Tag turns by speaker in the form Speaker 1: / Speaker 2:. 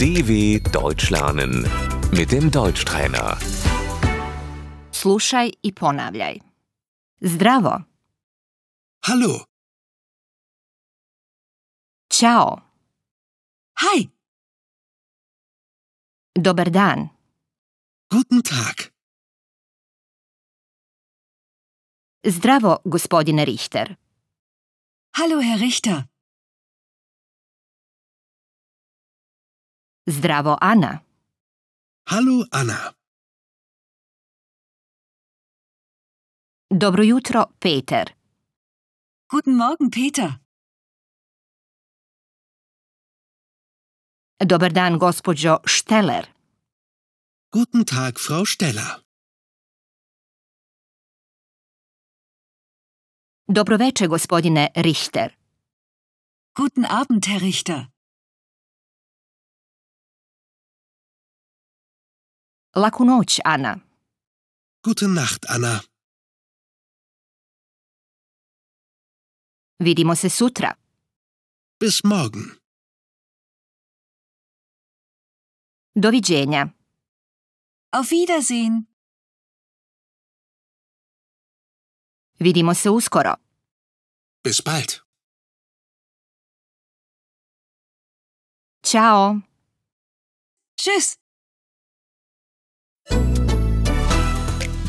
Speaker 1: DW Deutsch lernen mit dem Deutschtrainer.
Speaker 2: Slušaj i ponavljaj. Zdravo,
Speaker 3: Hallo,
Speaker 2: čao,
Speaker 4: Hi,
Speaker 2: dobar dan,
Speaker 3: guten Tag.
Speaker 2: zdravo gospodine Richter,
Speaker 4: hallo Herr Richter.
Speaker 2: zdravo Ana,
Speaker 3: Hallo Anna.
Speaker 2: dobro jutro Peter,
Speaker 4: Guten Morgen, Peter.
Speaker 2: dobar dan gospođo Šteller,
Speaker 3: Guten Tag, Frau Steller.
Speaker 2: dobro veče gospodine Richter,
Speaker 4: Guten Abend, Herr Richter.
Speaker 2: laku noć Ana,
Speaker 3: Gute Nacht, Anna.
Speaker 2: vidimo se sutra.
Speaker 3: Bis morgen.
Speaker 2: Doviđenja.
Speaker 4: Auf Wiedersehen.
Speaker 2: Vidimo se uskoro.
Speaker 3: Bis bald.
Speaker 2: Ćao.
Speaker 4: Tschüss.